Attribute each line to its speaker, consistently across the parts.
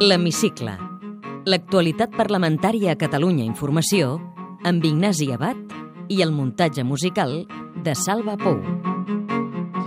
Speaker 1: L'Hemicicle. L'actualitat parlamentària a Catalunya Informació amb Ignasi Abad i el muntatge musical de Salva Pou.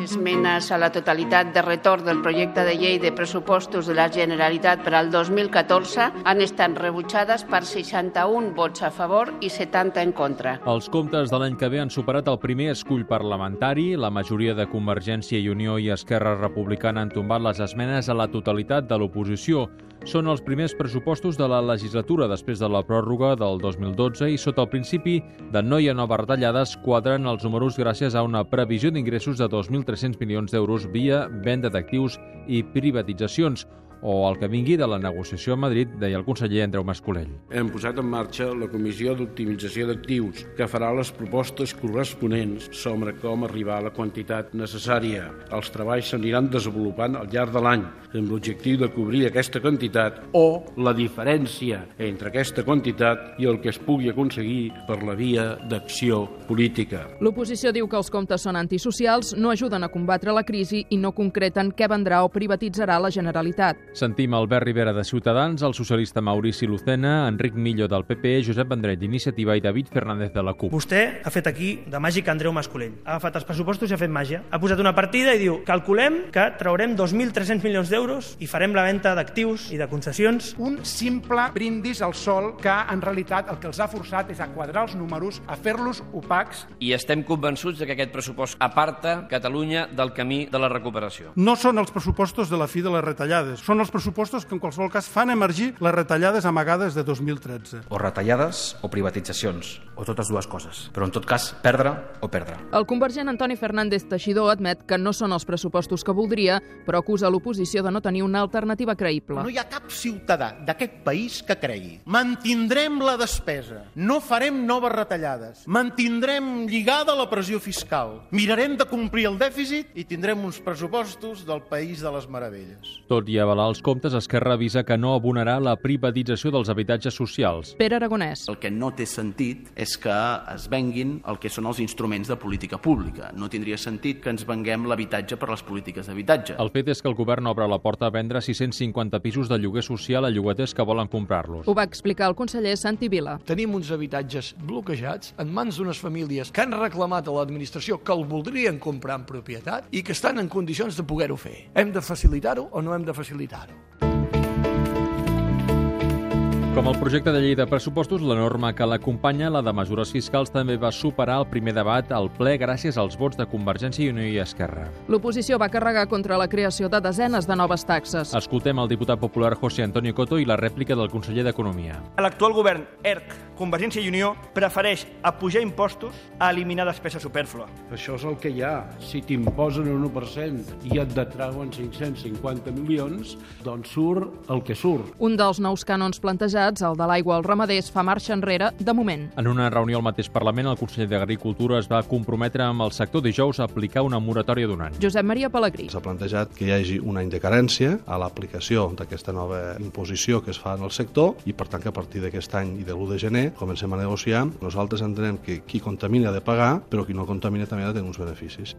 Speaker 2: Esmenes a la totalitat de retorn del projecte de llei de pressupostos de la Generalitat per al 2014 han estat rebutjades per 61 vots a favor i 70 en contra.
Speaker 3: Els comptes de l'any que ve han superat el primer escull parlamentari. La majoria de Convergència i Unió i Esquerra Republicana han tombat les esmenes a la totalitat de l'oposició. Són els primers pressupostos de la legislatura després de la pròrroga del 2012 i sota el principi de no hi ha noves retallades quadren els números gràcies a una previsió d'ingressos de 2.300 milions d'euros via venda d'actius i privatitzacions o el que vingui de la negociació a Madrid, deia el conseller Andreu Mascolell.
Speaker 4: Hem posat en marxa la Comissió d'Optimització d'Actius, que farà les propostes corresponents sobre com arribar a la quantitat necessària. Els treballs s'aniran desenvolupant al llarg de l'any, amb l'objectiu de cobrir aquesta quantitat o la diferència entre aquesta quantitat i el que es pugui aconseguir per la via d'acció política.
Speaker 5: L'oposició diu que els comptes són antisocials, no ajuden a combatre la crisi i no concreten què vendrà o privatitzarà la Generalitat.
Speaker 3: Sentim Albert Rivera de Ciutadans, el socialista Maurici Lucena, Enric Millo del PP, Josep Vendret d'Iniciativa i David Fernández de la CUP.
Speaker 6: Vostè ha fet aquí de màgic Andreu Mascolell. Ha agafat els pressupostos i ha fet màgia. Ha posat una partida i diu calculem que traurem 2.300 milions d'euros i farem la venda d'actius i de concessions.
Speaker 7: un simple brindis al sol que en realitat el que els ha forçat és a quadrar els números, a fer-los opacs.
Speaker 8: i estem convençuts de que aquest pressupost aparta Catalunya del camí de la recuperació.
Speaker 9: No són els pressupostos de la fi de les retallades, són els pressupostos que en qualsevol cas fan emergir les retallades amagades de 2013.
Speaker 10: o retallades o privatitzacions, o totes dues coses. Però en tot cas, perdre o perdre.
Speaker 5: El convergent Antoni Fernández Teixidor admet que no són els pressupostos que voldria, però acusa l'oposició de no tenir una alternativa creïble.
Speaker 11: No hi ha cap ciutadà d'aquest país que cregui. Mantindrem la despesa, no farem noves retallades, mantindrem lligada la pressió fiscal, mirarem de complir el dèficit i tindrem uns pressupostos del País de les Meravelles.
Speaker 3: Tot i avalar els comptes, Esquerra avisa que no abonarà la privatització dels habitatges socials.
Speaker 5: Pere Aragonès.
Speaker 12: El que no té sentit és que es venguin el que són els instruments de política pública. No tindria sentit que ens venguem l'habitatge per les polítiques d'habitatge.
Speaker 3: El fet és que el govern obre la porta a vendre 650 pisos de lloguer social a llogaters que volen comprar-los.
Speaker 5: Ho va explicar el conseller Santi Vila.
Speaker 13: Tenim uns habitatges bloquejats en mans d'unes famílies que han reclamat a l'administració que el voldrien comprar en propietat i que estan en condicions de poder-ho fer. Hem de facilitar-ho o no hem de facilitar-ho?
Speaker 3: Com el projecte de llei de pressupostos, la norma que l'acompanya, la de mesures fiscals, també va superar el primer debat al ple gràcies als vots de Convergència i Unió i Esquerra.
Speaker 5: L'oposició va carregar contra la creació de desenes de noves taxes.
Speaker 3: Escoltem el diputat popular José Antonio Coto i la rèplica del conseller d'Economia.
Speaker 6: L'actual govern ERC, Convergència i Unió, prefereix apujar impostos a eliminar despesa supèrflua.
Speaker 4: Això és el que hi ha. Si t'imposen un 1% i et detrauen 550 milions, doncs surt el que surt.
Speaker 5: Un dels nous cànons plantejats, el de l'aigua als ramaders, fa marxa enrere de moment.
Speaker 3: En una reunió al mateix Parlament, el conseller d'Agricultura es va comprometre amb el sector dijous a aplicar una moratòria d'un any.
Speaker 5: Josep Maria Pellegrí.
Speaker 9: S'ha plantejat que hi hagi un any de carència a l'aplicació d'aquesta nova imposició que es fa en el sector i, per tant, que a partir d'aquest any i de l'1 de gener Eh, comencem a negociar. Nosaltres entenem que qui contamina ha de pagar, però qui no contamina també ha de tenir uns beneficis.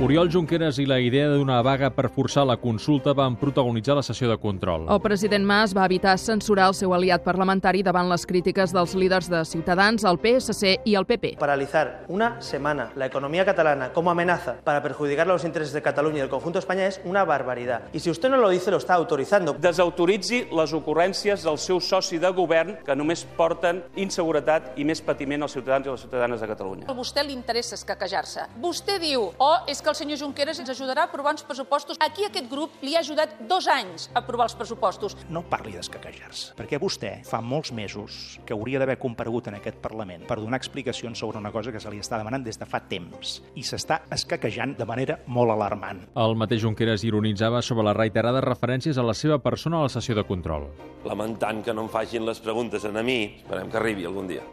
Speaker 3: Oriol Junqueras i la idea d'una vaga per forçar la consulta van protagonitzar la sessió de control.
Speaker 5: El president Mas va evitar censurar el seu aliat parlamentari davant les crítiques dels líders de Ciutadans, el PSC i el PP.
Speaker 6: Paralizar una semana la economía catalana como amenaza para perjudicar los intereses de Cataluña y del conjunto de España es una barbaridad. Y si usted no lo dice, lo está autorizando.
Speaker 13: Desautoritzi les ocurrències del seu soci de govern que només porten inseguretat i més patiment als ciutadans i les ciutadanes de Catalunya.
Speaker 2: A vostè li interessa escaquejar-se. Vostè diu, oh, és que el senyor Junqueras ens ajudarà a aprovar uns pressupostos. Aquí aquest grup li ha ajudat dos anys a aprovar els pressupostos.
Speaker 11: No parli d'escaquejar-se, perquè vostè fa molts mesos que hauria d'haver comparegut en aquest Parlament per donar explicacions sobre una cosa que se li està demanant des de fa temps i s'està escaquejant de manera molt alarmant.
Speaker 3: El mateix Junqueras ironitzava sobre les reiterades referències a la seva persona a la sessió de control.
Speaker 13: Lamentant que no em facin les preguntes a mi, esperem que arribi algun dia.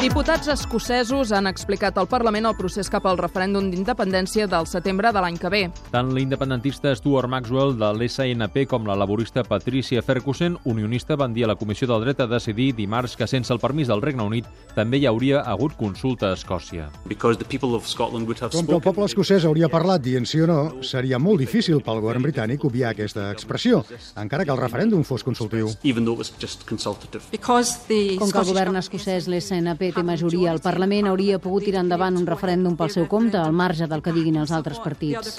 Speaker 5: Diputats escocesos han explicat al Parlament el procés cap al referèndum d'independència del setembre de l'any que ve.
Speaker 3: Tant l'independentista Stuart Maxwell de l'SNP com la laborista Patricia Ferguson, unionista, van dir a la Comissió del Dret a Decidir dimarts que sense el permís del Regne Unit també hi hauria hagut consulta a Escòcia.
Speaker 14: Because the people of Scotland would have
Speaker 15: Com que el
Speaker 14: spoken.
Speaker 15: poble escocès hauria parlat dient sí o no, seria molt difícil pel govern britànic obviar aquesta expressió, encara que el referèndum fos consultiu.
Speaker 14: Even though it was just consultative.
Speaker 16: Com que el govern escocès, l'SNP, té majoria al Parlament, hauria pogut tirar endavant un referèndum pel seu compte, al marge del que diguin els altres partits.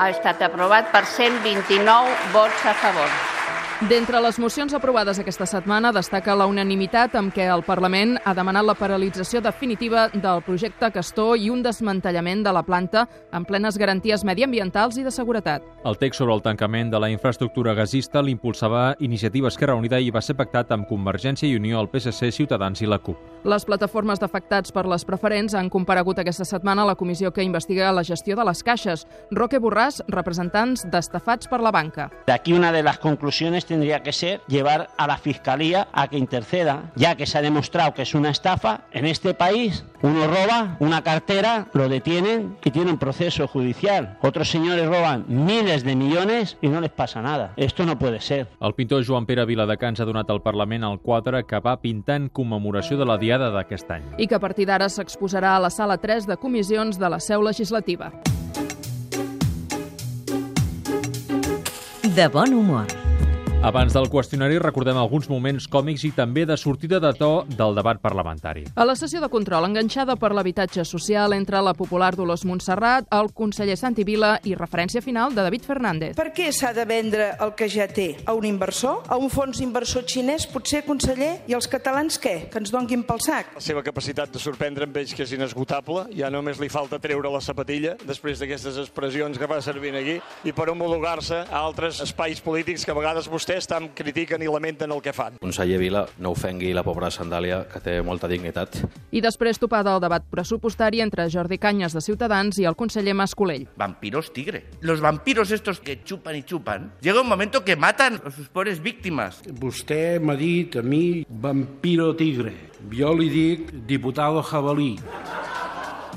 Speaker 2: Ha estat aprovat per 129 vots a favor.
Speaker 5: D'entre les mocions aprovades aquesta setmana destaca la unanimitat amb què el Parlament ha demanat la paralització definitiva del projecte Castor i un desmantellament de la planta amb plenes garanties mediambientals i de seguretat.
Speaker 3: El text sobre el tancament de la infraestructura gasista l'impulsava Iniciativa Esquerra Unida i va ser pactat amb Convergència i Unió, el PSC, Ciutadans i la CUP.
Speaker 5: Les plataformes d'afectats per les preferents han comparegut aquesta setmana a la comissió que investiga la gestió de les caixes. Roque Borràs, representants d'estafats per la banca.
Speaker 17: De aquí una de las conclusiones tendría que ser llevar a la Fiscalía a que interceda, ya que se ha demostrado que es una estafa. En este país uno roba una cartera, lo detienen y tiene un proceso judicial. Otros señores roban miles de millones y no les pasa nada. Esto no puede ser.
Speaker 3: El pintor Joan Pere Viladecans ha donat al Parlament el quadre que va pintar en commemoració de la Diada d'aquest any.
Speaker 5: i que a partir d'ara s'exposarà a la sala 3 de comissions de la seu legislativa.
Speaker 1: De bon humor.
Speaker 3: Abans del qüestionari recordem alguns moments còmics i també de sortida de to del debat parlamentari.
Speaker 5: A la sessió de control enganxada per l'habitatge social entre la popular Dolors Montserrat, el conseller Santi Vila i referència final de David Fernández.
Speaker 18: Per què s'ha de vendre el que ja té? A un inversor? A un fons inversor xinès, potser, conseller? I els catalans què? Que ens donguin pel sac?
Speaker 19: La seva capacitat de sorprendre amb ells que és inesgotable, ja només li falta treure la sapatilla després d'aquestes expressions que va servint aquí i per homologar-se a altres espais polítics que a vegades vostès tant critiquen i lamenten el que fan.
Speaker 10: Conseller Vila, no ofengui la pobra sandàlia, que té molta dignitat.
Speaker 5: I després topada el debat pressupostari entre Jordi Canyes de Ciutadans i el conseller Mascolell.
Speaker 20: Vampiros tigre. Los vampiros estos que chupan y chupan, llega un momento que matan a sus pobres víctimas.
Speaker 4: Vostè m'ha dit a mi vampiro tigre. Jo li dic diputado jabalí.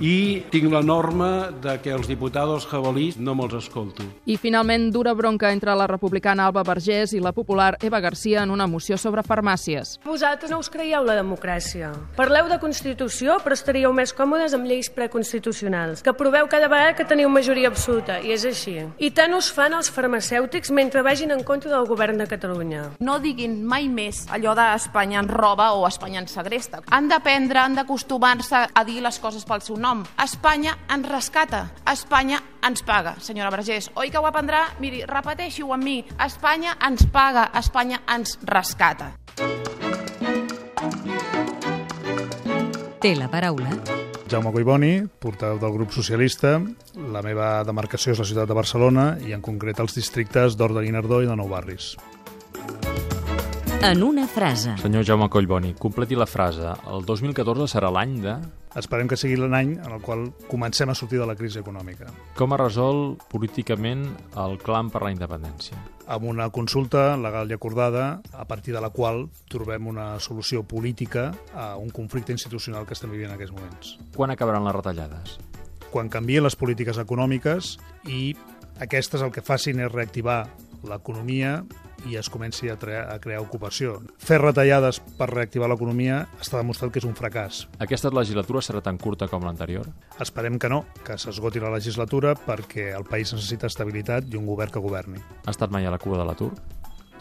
Speaker 4: I tinc la norma de que els diputados jabalís no me'ls escolto.
Speaker 5: I finalment dura bronca entre la republicana Alba Vergés i la popular Eva Garcia en una moció sobre farmàcies.
Speaker 21: Vosaltres no us creieu la democràcia. Parleu de Constitució, però estaríeu més còmodes amb lleis preconstitucionals, que proveu cada vegada que teniu majoria absoluta, i és així. I tant us fan els farmacèutics mentre vagin en contra del govern de Catalunya.
Speaker 22: No diguin mai més allò de Espanya ens roba o Espanya ens segresta. Han d'aprendre, han d'acostumar-se a dir les coses pel seu nom. Espanya ens rescata, Espanya ens paga, senyora Vergés. Oi que ho aprendrà? Miri, repeteixi-ho amb mi. Espanya ens paga, Espanya ens rescata.
Speaker 1: Té la paraula
Speaker 23: Jaume Collboni, portaveu del grup socialista. La meva demarcació és la ciutat de Barcelona i en concret els districtes d'Hort de Guinardó i de Nou Barris.
Speaker 1: en una frase.
Speaker 3: Senyor Jaume Collboni, completi la frase. El 2014 serà l'any de...
Speaker 23: Esperem que sigui l'any en el qual comencem a sortir de la crisi econòmica.
Speaker 3: Com ha resolt políticament el clam per la independència?
Speaker 23: amb una consulta legal i acordada a partir de la qual trobem una solució política a un conflicte institucional que estem vivint en aquests moments.
Speaker 3: Quan acabaran les retallades?
Speaker 23: Quan canvien les polítiques econòmiques i aquestes el que facin és reactivar l'economia i es comenci a, tre- a crear ocupació. Fer retallades per reactivar l'economia està demostrat que és un fracàs.
Speaker 3: Aquesta legislatura serà tan curta com l'anterior?
Speaker 23: Esperem que no, que s'esgoti la legislatura perquè el país necessita estabilitat i un govern que governi.
Speaker 3: Ha estat mai a la cua de l'atur?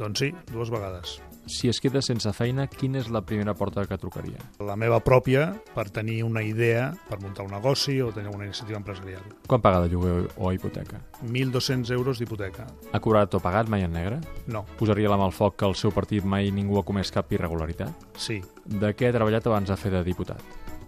Speaker 23: Doncs sí, dues vegades.
Speaker 3: Si es queda sense feina, quina és la primera porta que trucaria?
Speaker 23: La meva pròpia per tenir una idea, per muntar un negoci o tenir una iniciativa empresarial.
Speaker 3: Quan paga de lloguer o hipoteca?
Speaker 23: 1.200 euros d'hipoteca.
Speaker 3: Ha cobrat o pagat mai en negre?
Speaker 23: No.
Speaker 3: Posaria la mà al foc que al seu partit mai ningú ha comès cap irregularitat?
Speaker 23: Sí.
Speaker 3: De què ha treballat abans de fer de diputat?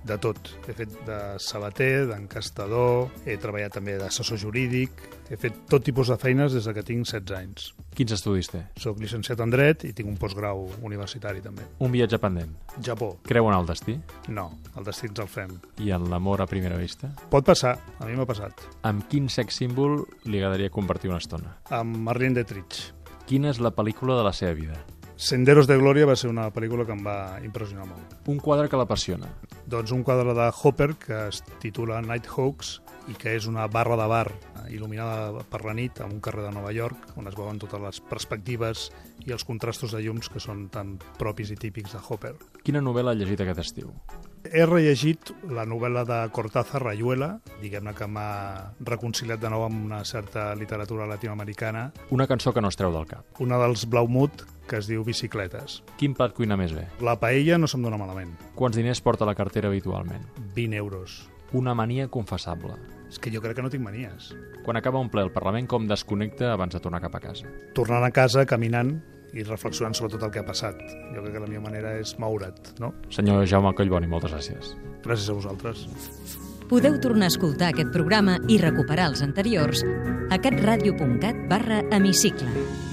Speaker 23: De tot. He fet de sabater, d'encastador, he treballat també d'assessor jurídic, he fet tot tipus de feines des de que tinc 16 anys.
Speaker 3: Quins estudis té?
Speaker 23: Soc llicenciat en Dret i tinc un postgrau universitari també.
Speaker 3: Un viatge pendent?
Speaker 23: Japó.
Speaker 3: Creu en el destí?
Speaker 23: No, el destí ens el fem.
Speaker 3: I en l'amor a primera vista?
Speaker 23: Pot passar, a mi m'ha passat.
Speaker 3: Amb quin sex símbol li agradaria compartir una estona?
Speaker 23: Amb Marlene Dietrich.
Speaker 3: Quina és la pel·lícula de la seva vida?
Speaker 23: Senderos de Glòria va ser una pel·lícula que em va impressionar molt.
Speaker 3: Un quadre que l'apassiona.
Speaker 23: Doncs un quadre de Hopper que es titula Nighthawks i que és una barra de bar eh, il·luminada per la nit en un carrer de Nova York on es veuen totes les perspectives i els contrastos de llums que són tan propis i típics de Hopper.
Speaker 3: Quina novel·la ha llegit aquest estiu?
Speaker 23: He rellegit la novel·la de Cortázar, Rayuela, diguem-ne que m'ha reconciliat de nou amb una certa literatura latinoamericana,
Speaker 3: Una cançó que no es treu del cap.
Speaker 23: una dels Blaumut que es diu Bicicletes.
Speaker 3: Quin plat cuina més bé?
Speaker 23: La paella no se'm dona malament,
Speaker 3: Quants diners porta la cartera habitualment?
Speaker 23: 20 euros.
Speaker 3: Una mania confessable.
Speaker 23: És que jo crec que no tinc manies.
Speaker 3: Quan acaba un ple al Parlament, com desconnecta abans de tornar cap a casa.
Speaker 23: tornant a casa, caminant i reflexionant sobre tot el que ha passat. Jo crec que la millor manera és moure't, no?
Speaker 3: Senyor Jaume Collboni, moltes gràcies.
Speaker 23: Gràcies a vosaltres.
Speaker 1: Podeu tornar a escoltar aquest programa i recuperar els anteriors a catradio.cat barra hemicicle.